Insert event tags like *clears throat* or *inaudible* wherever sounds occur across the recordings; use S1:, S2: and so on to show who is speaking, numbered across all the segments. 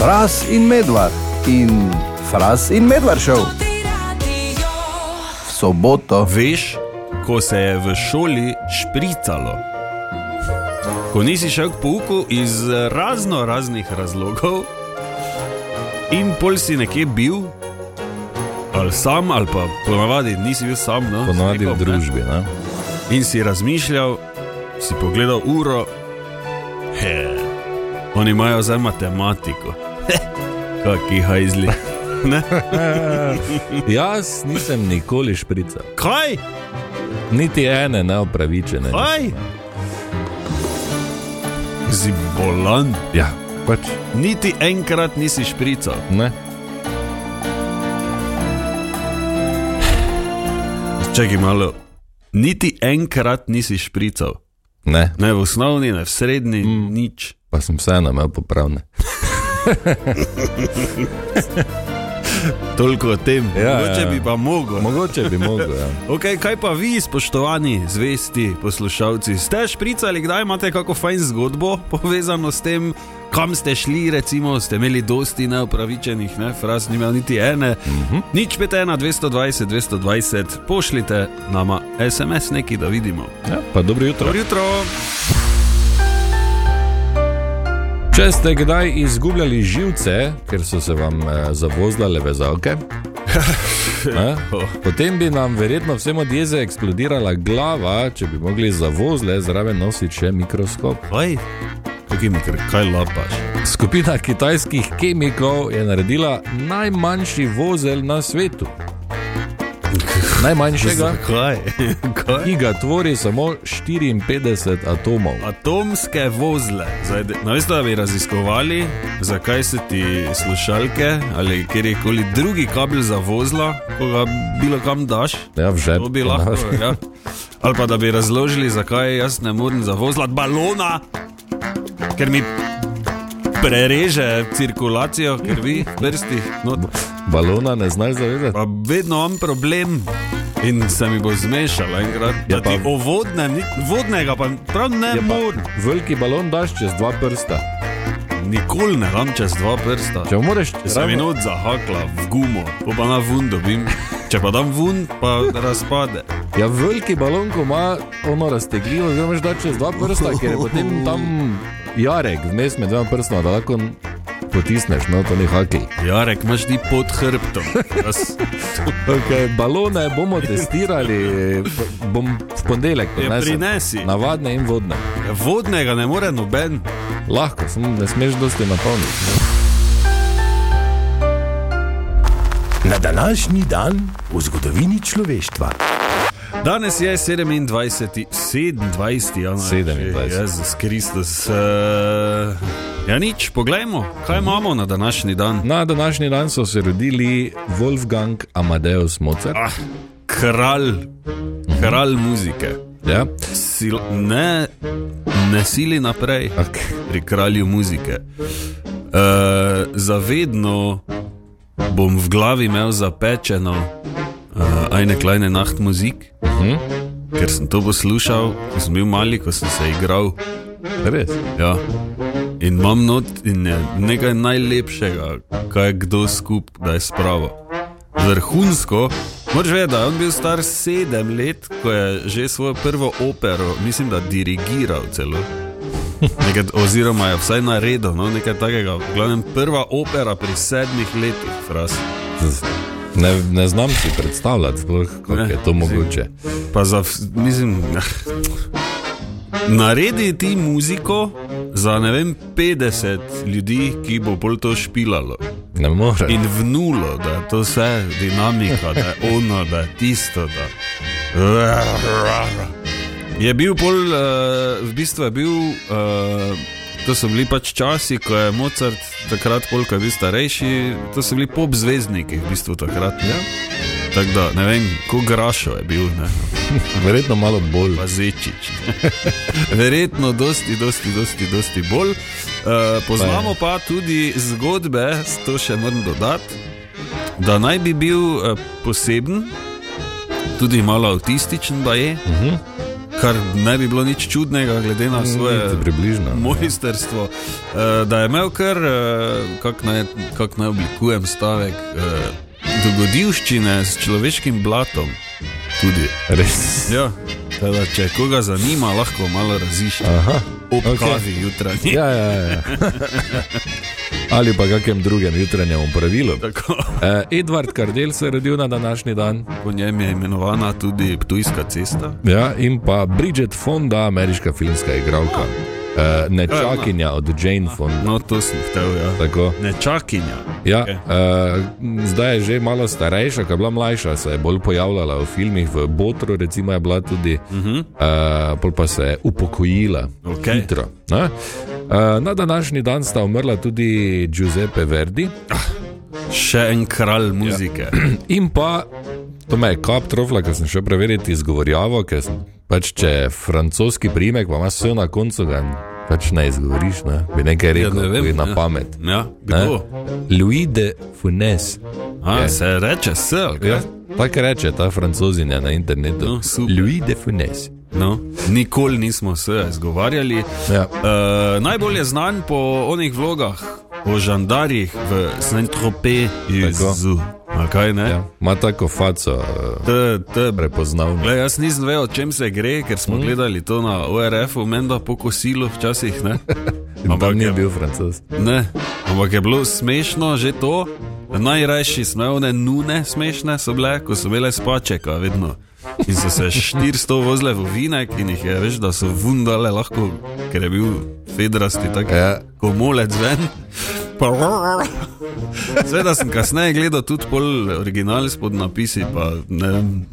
S1: Fras in medvard in fras in medvard šel v soboto.
S2: Veš, ko se je v šoli špricalo. Ko nisi šel k pouku iz razno raznih razlogov, in pol si nekje bil, ali sam, ali pa ponavadi nisi bil sam, no,
S3: Ponovadi v
S2: s nekom, ne.
S3: družbi. Ne?
S2: In si razmišljal, si pogledal uro, he, oni imajo zdaj matematiko, *laughs* kaki hajzli. Ne?
S3: Jaz nisem nikoli šprical,
S2: Kaj?
S3: niti ene neupravičene. nisem.
S2: Kaj? Si bolan.
S3: Ja, pač
S2: Niti enkrat nisi šprical.
S3: ne.
S2: Čakaj malo. Niti enkrat nisi šprical.
S3: Ne,
S2: Ne v osnovni, ne v srednji, mm. nič.
S3: pa sem vseeno imel popravne.
S2: Toliko o tem.
S3: Ja, ja,
S2: Mogoče
S3: ja.
S2: bi pa mogel.
S3: Mogoče bi mogel. Ja.
S2: Okay, kaj pa vi, spoštovani, zvesti poslušalci? Ste špricali, kdaj imate kako fajn zgodbo povezano s tem, kam ste šli, recimo, ste imeli dosti neupravičenih, ne, fraz, ni imel niti ene. Mm -hmm. Nič 51, 220, 220, pošljite nama SMS neki, da vidimo.
S3: Ja, pa dobro jutro.
S2: Dobro jutro.
S3: Če ste kdaj izgubljali živce, ker so se vam eh, zavozlale *laughs* vezalke, eh,
S2: Oh.
S3: potem bi nam verjetno vsem od jeze eksplodirala glava, če bi mogli zavozle zraven nositi še mikroskop.
S2: Kaj? Kaj, mikr, kaj lapaš?
S3: Skupina kitajskih kemikov je naredila najmanjši vozel na svetu. Najmanjšega,
S2: Kaj? *laughs* kaj?
S3: ki ga tvori samo 54 atomov.
S2: Atomske vozle. Zdaj, de- Namesto da bi raziskovali, zakaj se ti slušalke ali kjerkoli drugi kabel za vozla, ko ga bilo kam daš,
S3: Ja, v žep.
S2: to bi lahko.
S3: Ja.
S2: Ja. Ali pa da bi razložili, zakaj jaz ne morem zavozlati balona, ker mi prereže cirkulacijo, ker vi vrsti. No,
S3: *laughs* Balona ne znaš zavedati.
S2: Pa vedno imam problem in se mi bo zmešalo enkrat. Ja,
S3: pa-
S2: ti o vodnem, ni- vodnega pa prav ne
S3: Je pa
S2: morem.
S3: Veliki balon daš čez dva prsta.
S2: Nikoli ne dam čez dva prsta.
S3: Če mu moreš,
S2: Če sem minut zahakla v gumo, pa pa na vun dobim. Če pa dam vun, pa razpade.
S3: ja, veliki balon, ko ima ono raztegljivo, oziroma že da čez dva prsta, ker je potem tam jarek vmes med dvema prstoma, da lahko potisneš, no to ni haki.
S2: Jarek, imaš ti pod hrbtom. Jaz,
S3: Okay, balone bomo testirali, p- bom v ponedeljek
S2: Ja,
S3: prinesel.
S2: prinesi.
S3: Navadne in vodne.
S2: vodnega ne more noben.
S3: Lahko, samo ne smeš dosti napolniti.
S1: Na današnji dan v zgodovini človeštva.
S2: Danes je 27, 27, januar.
S3: 27.
S2: Jezus Kristus. Uh, ja, nič, poglejmo, kaj imamo na današnji dan.
S3: Na današnji dan so se rodili Wolfgang Amadeus Mozart.
S2: Ah, kralj, kralj muzike.
S3: Ja,
S2: Sil, ne, ne sili naprej
S3: okay.
S2: pri kralju muzike. Uh, zavedno bom v glavi imel zapečeno uh, ajne kleine nacht muzik, uh
S3: Mhm.
S2: ker sem to poslušal, ko sem bil mali, ko sem se igral.
S3: res.
S2: Ja. In imam not in je nekaj najlepšega, kaj je kdo skupaj, da je spravo. Vrhunsko, moraš vedeti, da je on bil star sedem let, ko je že svojo prvo opero, mislim, da dirigiral celo. Nekaj, oziroma je vsaj naredil, no, nekaj takega. V Glavnem, prva opera pri sedmih letih, fras.
S3: Ne, ne znam si predstavljati, sploh, kako
S2: Ne,
S3: je to
S2: mislim-
S3: mogoče.
S2: Pa za, vs- mislim, *laughs* naredi ti muziko za ne vem 50 ljudi, ki bo bolj to špilalo.
S3: Ne morem.
S2: in vnulo, da je to vse dinamika, da je ono, da je tisto. Da. Je bil bolj, uh, v bistvu je bil, uh, to so bili pač časi, ko je Mozart takrat, koliko je bil starejši, to so bili pop zvezdniki, v bistvu takrat.
S3: Ja.
S2: Tako da ne vem, kako grašo je bil, ne?
S3: Verjetno malo bolj.
S2: pa zečič. *laughs* Verjetno, dosti, dosti, dosti, dosti bolj. Uh, poznamo pa tudi zgodbe, to še moram dodati, da naj bi e, bil uh, poseben, tudi malo avtističen, da je. Uh -huh. kar ne bi bilo nič čudnega, glede na svoje
S3: Niti približno.
S2: mojstrstvo, eh, da je imel kar, kako naj, kak naj oblikujem stavek, eh, dogodivščine s človeškim blatom. Tudi.
S3: Res.
S2: Ja, teda, če koga zanima, lahko malo razišče.
S3: Aha.
S2: Ob
S3: okej.
S2: okay. kavi jutranji.
S3: Ja, ja, ja. *laughs* Ali pa kakem drugem jutranjem pravilu.
S2: *laughs* Tako.
S3: Eh, Edvard Kardel se je rodil na današnji dan.
S2: Po njem je imenovana tudi Ptujska cesta.
S3: Ja, in pa Bridget Fonda, ameriška filmska igralka. Eh, Nečakinja od Jane Fonda.
S2: No, to sem hotel, ja.
S3: Tako.
S2: Nečakinja.
S3: Ja,
S2: Okej.
S3: eh, m, zdaj je že malo starejša, ko je bila mlajša, se je bolj pojavljala v filmih, v Botru, recimo je bila tudi, uh -huh. uh, pa se je upokojila,
S2: Mhm. Okej.
S3: hitro. ne. Eh, na današnji dan sta umrla tudi Giuseppe Verdi
S2: Še en
S3: Ja.
S2: kralj
S3: *clears throat*
S2: muzike.
S3: in pa, to me je kap trofla, ker sem šel preveriti izgovorjavo, ker sem, pač, če je francoski primek, pa imaš vse na koncu, ga pač ne izgovoriš, ne? bi nekaj rekel,
S2: ne vem,
S3: bi na
S2: ja.
S3: pamet.
S2: Ja, ja
S3: ne.
S2: kdo?
S3: Louis de Funes.
S2: A,
S3: Eh? Je.
S2: Se reče S, ja.
S3: Ja, tako reče ta francozinja na internetu.
S2: No, super.
S3: Louis de Funes.
S2: no, nikoli nismo se izgovarjali.
S3: Ja.
S2: Uh, najbolj je znan po onih vlogah o žandarjih v Saint-Tropez-Jezu. Kaj ne? Ja.
S3: Ja. Ma tako faco, eh,
S2: T, t,
S3: prepoznal.
S2: Glej, jaz nisem vedel, o čem se gre, ker smo mm. gledali to na ORF-u, menda po kosilu včasih. Ne?
S3: Ampak ni
S2: je-
S3: bil francos.
S2: Ne, ampak je bilo smešno že to. Najrajši smejone nune smešne so bile, ko so bile spačeka vedno. In so se 400 vozile v vinek in jih je več, da so vundale lahko, ker je bil fedrasti tako,
S3: Ja.
S2: ko molec ven. Pa Sveda sem kasneje gledal tudi pol original s podnapisi, pa ne vem,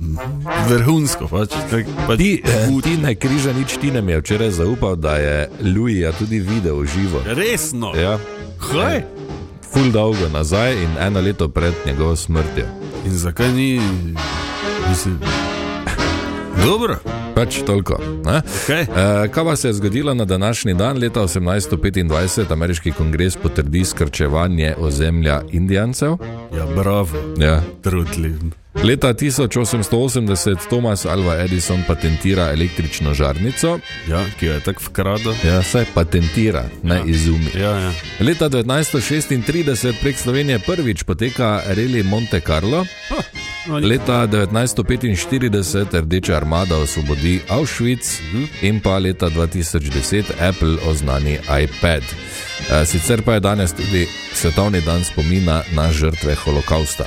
S2: vrhunsko pač. Tak, pač
S3: Ti, eh, ti ne križa nič, ti nam je včeraj zaupal, da je Louisja tudi videl v živo.
S2: Resno,
S3: Ja,
S2: kaj?
S3: ful dolgo nazaj in eno leto pred njegovo smrtjo.
S2: In zakaj ni, mislim, dobro,
S3: Pač toliko. ne.
S2: kaj?
S3: Eh, Kaj pa se je zgodilo na današnji dan, leta 1825, ameriški kongres potrdi skrčevanje ozemlja Indijancev?
S2: Ja, bravo,
S3: Ja,
S2: trudljiv.
S3: Leta 1880 Thomas Alva Edison patentira električno žarnico,
S2: Ja, ki jo je tako vkradel.
S3: ja, saj patentira, ne ja. izumi.
S2: Ja, ja.
S3: Leta 1936 prek Slovenije prvič poteka reli Monte Carlo,
S2: no,
S3: leta 1945 Rdeča armada osvobodi Auschwitz in pa leta 2010 Apple oznani iPad. Eh, Sicer pa je danes tudi svetovni dan spomina na žrtve holokausta.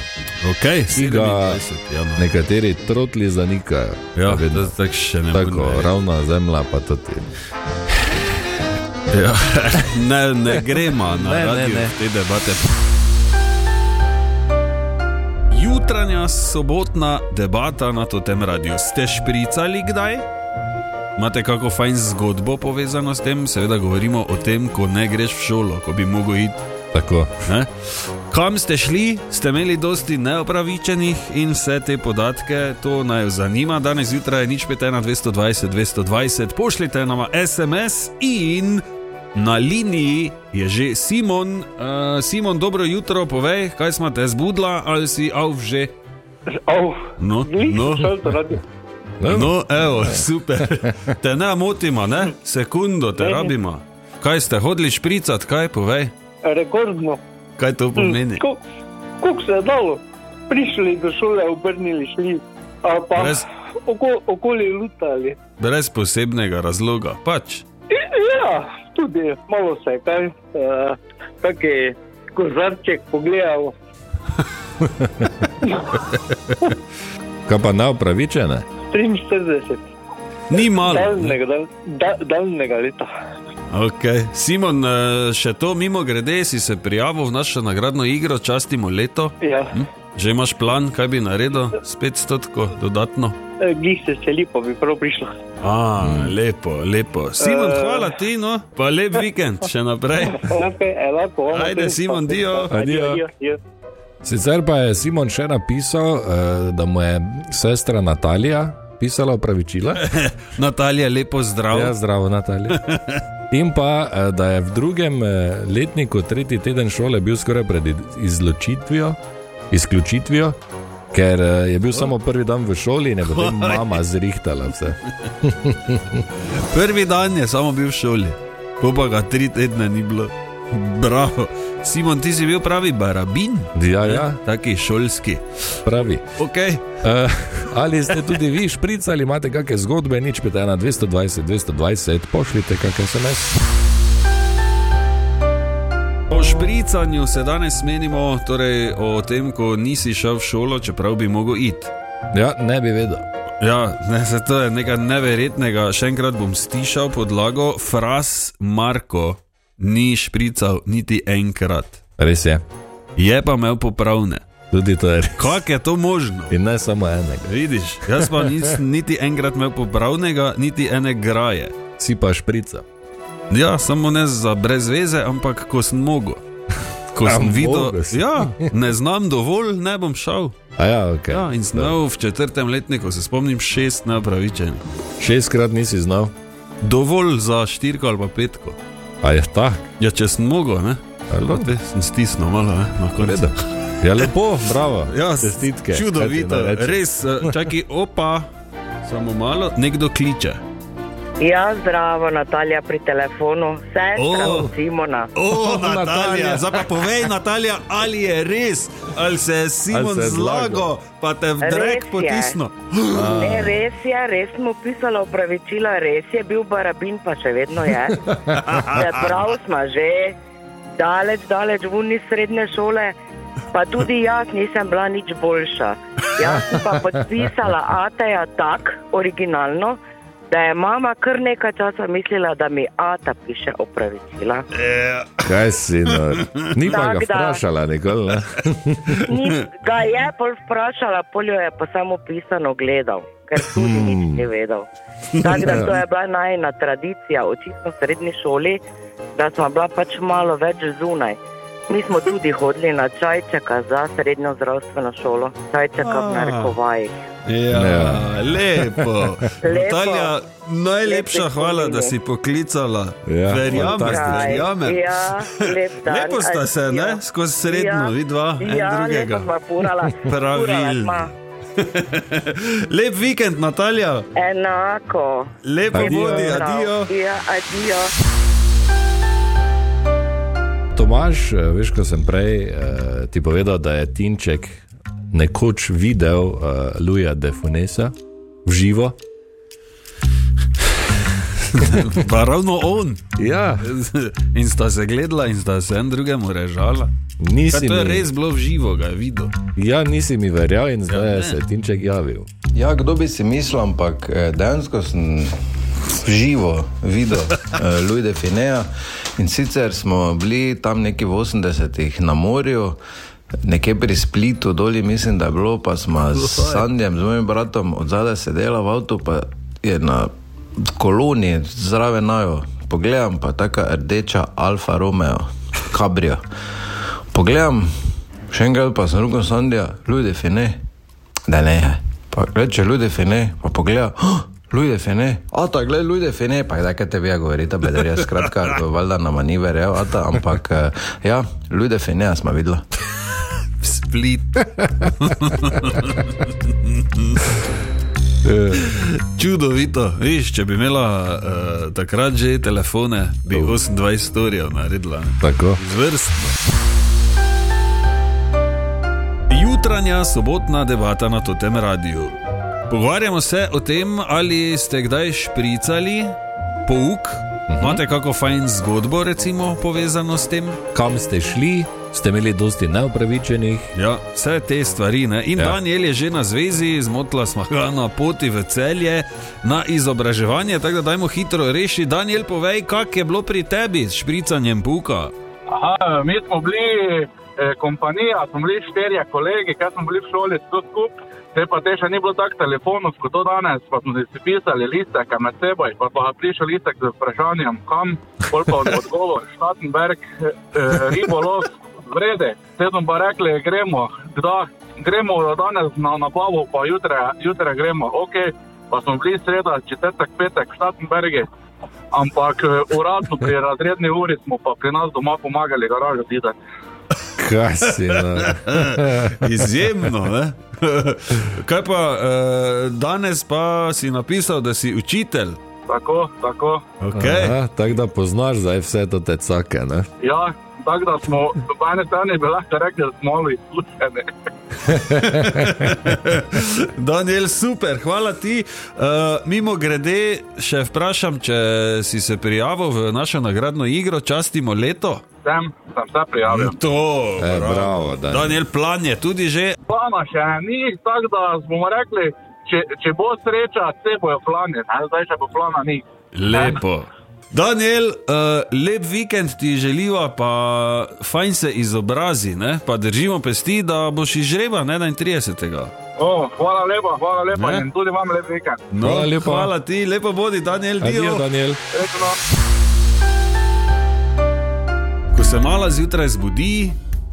S2: Ok,
S3: Ki ga
S2: 27, ja. no.
S3: nekateri trotli zanikajo.
S2: Ja,
S3: vedno.
S2: to tako še ne
S3: Tako,
S2: morem reči.
S3: ravna zemlja, pa tudi.
S2: Ja. *laughs* Ne, ne gremo na ne, radio ne, ne. te debate. Jutranja sobotna debata na to tem radiju. Ste špricali kdaj? Imate kako fajn zgodbo povezano s tem? Seveda govorimo o tem, ko ne greš v šolo, ko bi mogel iti
S3: Tako.
S2: Ne? Kam ste šli, ste imeli dosti neopravičenih in vse te podatke, to naj zanima. Danes zjutraj je nič 5, 220, 220, pošljite nam SMS in na liniji je že Simon. Uh, Simon, dobro jutro, povej, kaj smo te zbudla ali si avž že.
S4: Oh,
S2: No, no.
S4: no. Šalto, radio.
S2: No, evo, super. Te ne motimo, ne? Sekundo te
S4: Ne, ne.
S2: rabimo. Kaj ste hodili špricat, kaj povej?
S4: Rekordno.
S2: Kaj to pomeni?
S4: Kako se je dalo? Prišli do šole, obrnili šli, a pa
S2: Brez-
S4: oko, okoli lutali.
S2: Brez posebnega razloga, pač.
S4: Ja, tudi malo se je kaj, uh, kak je kozarček pogledal.
S3: Kaj pa neopravičene?
S4: 43,
S2: Ni malo.
S4: daljnega, dal, da, daljnega leta.
S2: Okay. Simon, eh, še to mimo grede, si se prijavil v našo nagradno igro, častimo leto.
S4: Ja,
S2: Hm? Že imaš plan, kaj bi naredil, spet stotko dodatno.
S4: eh, glih se seli, pa bi prav prišla.
S2: A, mm. Lepo, lepo. Simon,
S4: Eh.
S2: hvala ti, no, pa lep vikend, še naprej.
S4: Okay, enako, ono,
S2: Ajde,
S4: tudi-
S2: Simon, dio.
S4: Adijo,
S3: Adijo.
S4: adijo, adijo.
S3: Sicer pa je Simon še napisal, eh, da mu je sestra Natalija pisala opravičila.
S2: *laughs* Natalija, lepo zdrav.
S3: Ja, zdravo, Natalija. In pa, eh, da je v drugem eh, letniku, tretji teden šole, bil skoraj pred iz- izločitvijo, izključitvijo, Ker eh, je bil samo prvi dan v šoli in je potem mama zrihtala vse.
S2: Prvi dan je samo bil v šoli, ko pa ga tri tedne ni bilo. Bravo. Simon, ti si bil pravi barabin,
S3: Ja, ja,
S2: taki šolski.
S3: pravi.
S2: Okay.
S3: Uh, ali ste tudi vi špricali, imate kakšne zgodbe, nič pete na 220, 220, pošljite kakšne SMS.
S2: O špricanju se danes menimo, torej o tem, ko nisi šel v šolo, čeprav bi mogel iti.
S3: Ja, ne bi vedel.
S2: Ja, ne, se to je nekaj neverjetnega. Še enkrat bom stišal podlago. Fras Marko ni šprical niti enkrat.
S3: Res je,
S2: Je pa imel popravne.
S3: tudi to je. res.
S2: Kako je to možno?
S3: In ne samo enega.
S2: Vidiš, jaz pa nisem niti enkrat imel popravnega, niti ene graje.
S3: Si pa šprica.
S2: Ja, samo ne za brez veze, ampak ko sem mogel. Ko
S3: A,
S2: sem videl,
S3: mogel si.
S2: ja, ne znam dovolj, ne bom šel.
S3: A ja, ok.
S2: Ja, in sem imel v četrtem letniku, se spomnim, šest neupravičenih.
S3: Šestkrat nisi znal,
S2: Dovolj za štirko ali pa petko.
S3: a je ta.
S2: Ja, če sem mogel, ne?
S3: Alo.
S2: Kot veš, sem stisnil malo, ne? Na koncu.
S3: Ja, lepo, bravo.
S2: *laughs* Ja, s-
S3: čestitke.
S2: Čudovito,
S3: Kaj ti naj rečem?
S2: res, eh, čakaj, opa, samo malo, nekdo kliče.
S5: Ja, zdravo, Natalija pri telefonu, vse
S2: O.
S5: od Simona.
S2: *laughs* O,
S3: Natalija.
S2: Natalija, zdaj pa povej, Natalija, ali je res, ali se je Simon
S3: se je
S2: zlagal,
S3: zlagal?
S2: pa te v drek
S5: Res je.
S2: potisnil.
S5: Ne, res je, res smo pisali opravičila, res je bil barabin, pa še vedno je. Čeprav smo že daleč, daleč vun iz srednje šole, pa tudi jaz nisem bila nič boljša. Jaz sem pa podpisala Ateja tako originalno, da je mama kar nekaj časa mislila, da mi Ata piše opravičila.
S3: Kaj si, no? ni pa
S5: Tak,
S3: ga
S5: da.
S3: vprašala nikoli. Ne?
S2: *laughs*
S5: Ni, ga je pol vprašala, poljo je pa samo pisano gledal, ker tudi
S2: Hmm.
S5: nič ni vedel. Tako da to je bila najna tradicija, očitno v srednji šoli, da smo bila pač malo več zunaj. Mi smo tudi hodili na čajčeka za srednjo zdravstveno šolo, čajčeka
S2: Ah.
S5: v narekovajih.
S2: Ja,
S3: Ja.
S5: *laughs*
S2: lepo. Natalija, najlepša
S5: Lepi
S2: hvala,
S5: spomini.
S2: da si poklicala.
S3: Ja,
S2: Verjamem,
S3: fantastično.
S2: verjamem.
S5: Ja, lep dan.
S2: *laughs* Lepo sta se, ne?
S5: Ja.
S2: Skozi srednjo,
S5: Ja.
S2: vidva, en
S5: Ja, lepo
S2: drugega.
S5: sva
S2: *laughs*
S5: furala.
S2: Pravilno.
S5: Furala sva.
S2: Lep vikend, Natalija,
S5: Enako.
S2: lepo
S3: Adijo.
S2: vodi,
S5: Prav.
S2: adijo.
S5: Ja, adijo.
S3: Tomaž, eh, veš, ko sem prej eh, ti povedal, da je Tinček nekoč videl uh, Luja Defunesa v živo.
S2: Pa ravno on. *laughs*
S3: Ja,
S2: In sta se gledala, in sta se en drugemu režala. Kaj,
S3: nisi
S2: to je
S3: mi,
S2: res bilo v živo, ga je videl.
S3: ja, nisi mi verjel in zdaj
S2: ne.
S3: ja, se je Tinček javil.
S1: Ja, kdo bi si mislil, ampak eh, dejansko sem živo videl eh, Luida Fineja in sicer smo bili tam nekje v 80-ih na morju. Nekje pri Splitu, dolje mislim, da je bilo, pa smo s Sandjem, z mojim bratom, od zadaj sedela v avtu, pa je na koloni zraven najo. Pogledam pa taka rdeča Alfa Romeo, Cabrio. Pogledam, še enkrat pa sem roko Sandja, ljudi fine, da ne je. Pa reče ljudi fine, pa pogleda, oh, ljudi fine, ata, gled, ljudi fine, pa da kaj te vi govorite, bedarja, skratka, valjda nama ni verjel, ata, ampak eh, ja, ljudi fine smo videli.
S2: V Split. Eh. Čudovito, veš, če bi imela uh, takrat že telefone, bi 28 storijev naredila. ne.
S3: Tako.
S2: Zvrstno. Jutranja sobotna debata na tem radiju. Pogovarjamo se o tem, ali ste kdaj špricali pouk. Imate kako fajn zgodbo, recimo, povezano s tem?
S3: Kam ste šli, ste imeli dosti neupravičenih.
S2: Ja, vse te stvari. Ne? In ja.
S3: Ja.
S2: Daniel je že na zvezi, zmotila smo ga na poti v celje, na izobraževanje, tako da dajmo hitro reši. Daniel, povej, kak je bilo pri tebi s špricanjem puka?
S6: Aha, mi smo bili eh, kompanija, smo bili štirje kolegi, ki smo bili v šoli, vse skupaj. Te pa te še ni bilo tako telefonov kot to danes, pa smo si pisali listek med seboj, pa pa prišel listek z vprašanjem, kam, pol pa odgovor, Štatenberg, eh, ribolov, vrede. Te smo pa rekli, gremo, da, gremo danes na nabavo, pa jutra, jutra gremo, ok, pa smo bili sreda, četrtek, petek, Štatenbergi. Ampak eh, uradno pri razredni uri smo pa pri nas doma pomagali, garažo zidati.
S3: Kaj si, no?
S2: Izjemno, ne? *laughs* Kaj pa eh, danes pa si napisal, da si učitelj?
S6: Tako, tako.
S2: Okay.
S3: Aha, Tako da poznaš zdaj vse te tecake. Ne?
S6: Ja, tako da smo, dobane strani bi lahko rekli, da smo eh, mali slušene.
S2: *laughs* Daniel, super, hvala ti. Uh, mimo grede, še vprašam, če si se prijavil v našo nagradno igro, častimo leto.
S6: Sem, sem se prijavil.
S2: To,
S3: E, bravo, da.
S2: Daniel, plan je tudi že.
S6: Plana še ni, tako da bomo rekli, če, če bo sreča, vse bojo plane, ne? zdaj še bo plana ni.
S2: Lepo. Daniel, uh, lep vikend ti želiva, pa fajn se izobrazi, ne? pa držimo pesti, da boš izžreba 31.
S6: O, hvala lepa, hvala lepa
S2: Ne.
S6: ne? in tudi vam lep vikend.
S2: No,
S3: Hvala lepa.
S2: hvala ti, lepo bodi, Daniel,
S3: Adijo,
S2: dio.
S3: Daniel.
S6: Srečno.
S2: Ko se mala zjutraj zbudi,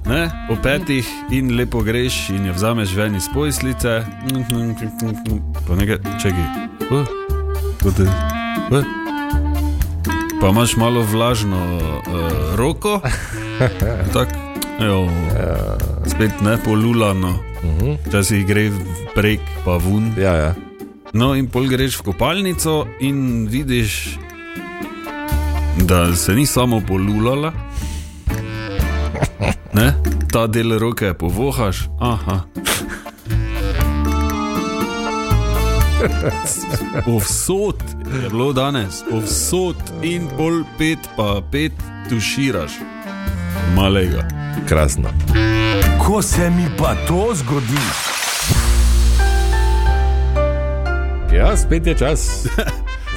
S2: ne, ob petih in lepo greš in jo vzameš ven iz pojslice, mm, pa nekaj čegi. Pa imaš malo vlažno uh,
S3: *laughs*
S2: roko, tako, jo,
S3: Ja.
S2: spet ne polulano,
S3: Mhm.
S2: včasih gre prek, pa vun.
S3: Ja, ja.
S2: No, in pol greš v kopalnico in vidiš, da se ni samo polulala. Ne? Ta del roke povohaš, aha. Povsod je bilo danes, povsod in pol pet, pa pet tuširaš, malega.
S3: Krasno.
S7: Ko se mi pa to zgodi,
S3: Ja, spet je čas.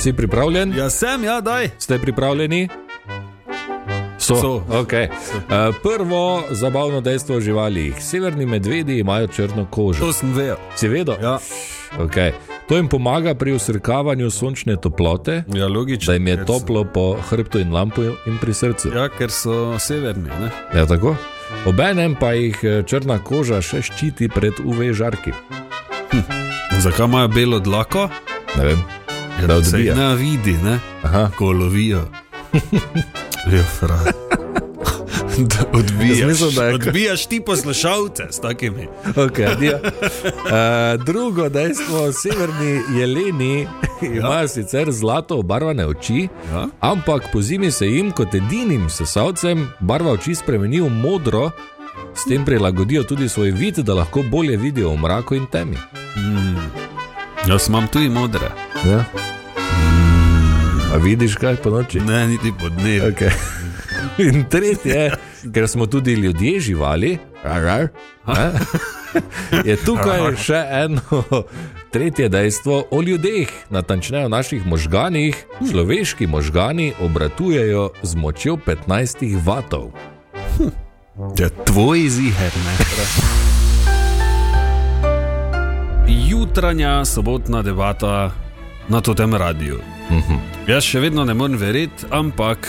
S3: Si pripravljen?
S2: Ja, sem, ja, daj.
S3: Ste pripravljeni? So.
S2: So.
S3: Okay. Uh, prvo zabavno dejstvo o živalih. Severni medvedi imajo črno kožo.
S2: To sem vedel.
S3: Si vedel?
S2: Ja.
S3: Okay. To jim pomaga pri usrkavanju sončne toplote,
S2: ja, logično.
S3: da jim je
S2: ker so-
S3: toplo po hrbtu in lampu in pri srcu.
S2: Ja, ker so severni, ne?
S3: Ja, tako. Obenem pa jih eh, črna koža še ščiti pred UV žarki.
S2: Zakaj imajo belo dlako?
S3: Ne vem, da
S2: Se jih
S3: odbija. *laughs*
S2: ne vidi, ne?
S3: Aha.
S2: Ko lovijo. Ja, frajer. Da
S3: Jaz
S2: Odbijaš,
S3: mislim, da je-
S2: odbijaš ti poslušalce s takimi.
S3: Okay, adijo. uh, drugo dejstvo, severni jeleni imajo sicer zlato obarvane oči,
S2: Ja.
S3: ampak po zimi se jim kot edinim sesalcem barva oči spremeni v modro, s tem prilagodijo tudi svoj vid, da lahko bolje vidijo v mraku in temi.
S2: Jaz imam tudi modre.
S3: Ja. A vidiš kaj po noči?
S2: Ne, niti po dnevu. Okay.
S3: Okay. *laughs* In tretje, ker smo tudi ljudje živali, agar, a, je tukaj še eno *laughs* tretje dejstvo o ljudeh, natančneje o naših možganih. Človeški možgani obratujejo z močjo 15 vatov.
S2: Ja, tvoj ziger, ne. Jutranja sobotna debata na tem radiju. Jaz še vedno ne morem verjeti, ampak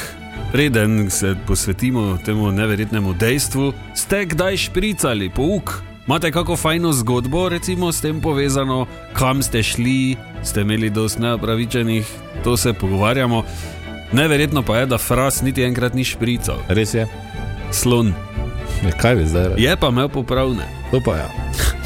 S2: preden se posvetimo temu neverjetnemu dejstvu, ste kdaj špricali pouk? Imate kako fajno zgodbo, recimo s tem povezano, kam ste šli, ste imeli dosti neopravičenih, to se pogovarjamo. Neverjetno pa je, da fras niti enkrat ni šprical,
S3: Res je,
S2: slon.
S3: Ja, kaj bi zdaj rekel?
S2: Je pa imel popravne.
S3: To pa ja.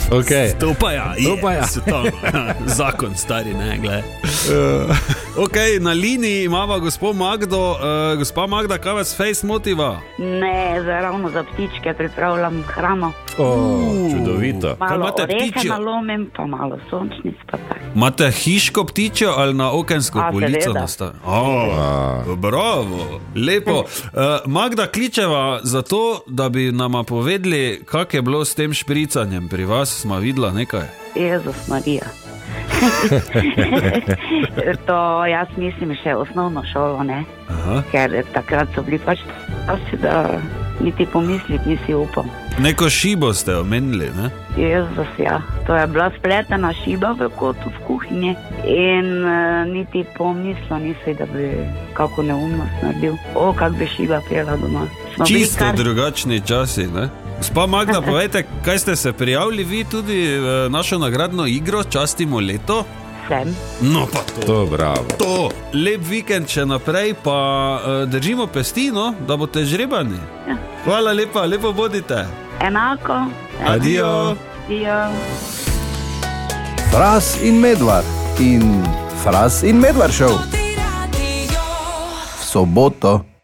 S3: Okay.
S2: To pa ja,
S3: To pa ja.
S2: svetovno. *laughs* Zakon stari, ne gled.
S3: Ja.
S2: ok, na liniji imamo gospod Magdo, uh, gospa Magda, kaj vas face motiva?
S8: Ne, za- ravno za ptičke pripravljam hrano.
S3: Oh, čudovito.
S2: Kaj
S8: Malo
S2: imate
S8: orehe
S2: ptičjo?
S8: nalomim, pa malo sončnic, pa tako.
S2: Imate hiško ptičjo ali na okensko
S8: A,
S2: polico
S8: seveda.
S2: nastavljeno? Oh, bravo, lepo. Uh, Magda kličeva zato, da bi nama povedali, kak je bilo s tem špricanjem pri vas, smo videla nekaj.
S8: Jezus
S2: *laughs*
S8: Marija. to jaz mislim še osnovno šolo, ne?
S2: Aha.
S8: ker takrat so bili pač časi, da niti pomisliti nisi upal.
S2: Neko šibo ste omenili, ne?
S8: Jezus, ja. To je bila spletena šiba v kotu v kuhinji in uh, niti pomislil nisi, da bi kako neumnost naredil. O, kak bi šiba pela doma. Smo No, bili
S2: Čisto
S8: kar-
S2: drugačni časi. Ne? Gospa
S8: *laughs*
S2: Magda, povejte, kaj ste se prijavili vi tudi v našo nagradno igro, častimo leto?
S8: Sem.
S2: No, pa to.
S3: To bravo.
S2: to. Lep vikend še naprej, pa eh, držimo pesti, no, da
S8: Ja.
S2: boste žrebani. Hvala lepa, lepo bodite.
S8: Enako.
S2: Adijo.
S8: Adijo.
S1: Fras in medvar in fras in medvar šel. V soboto.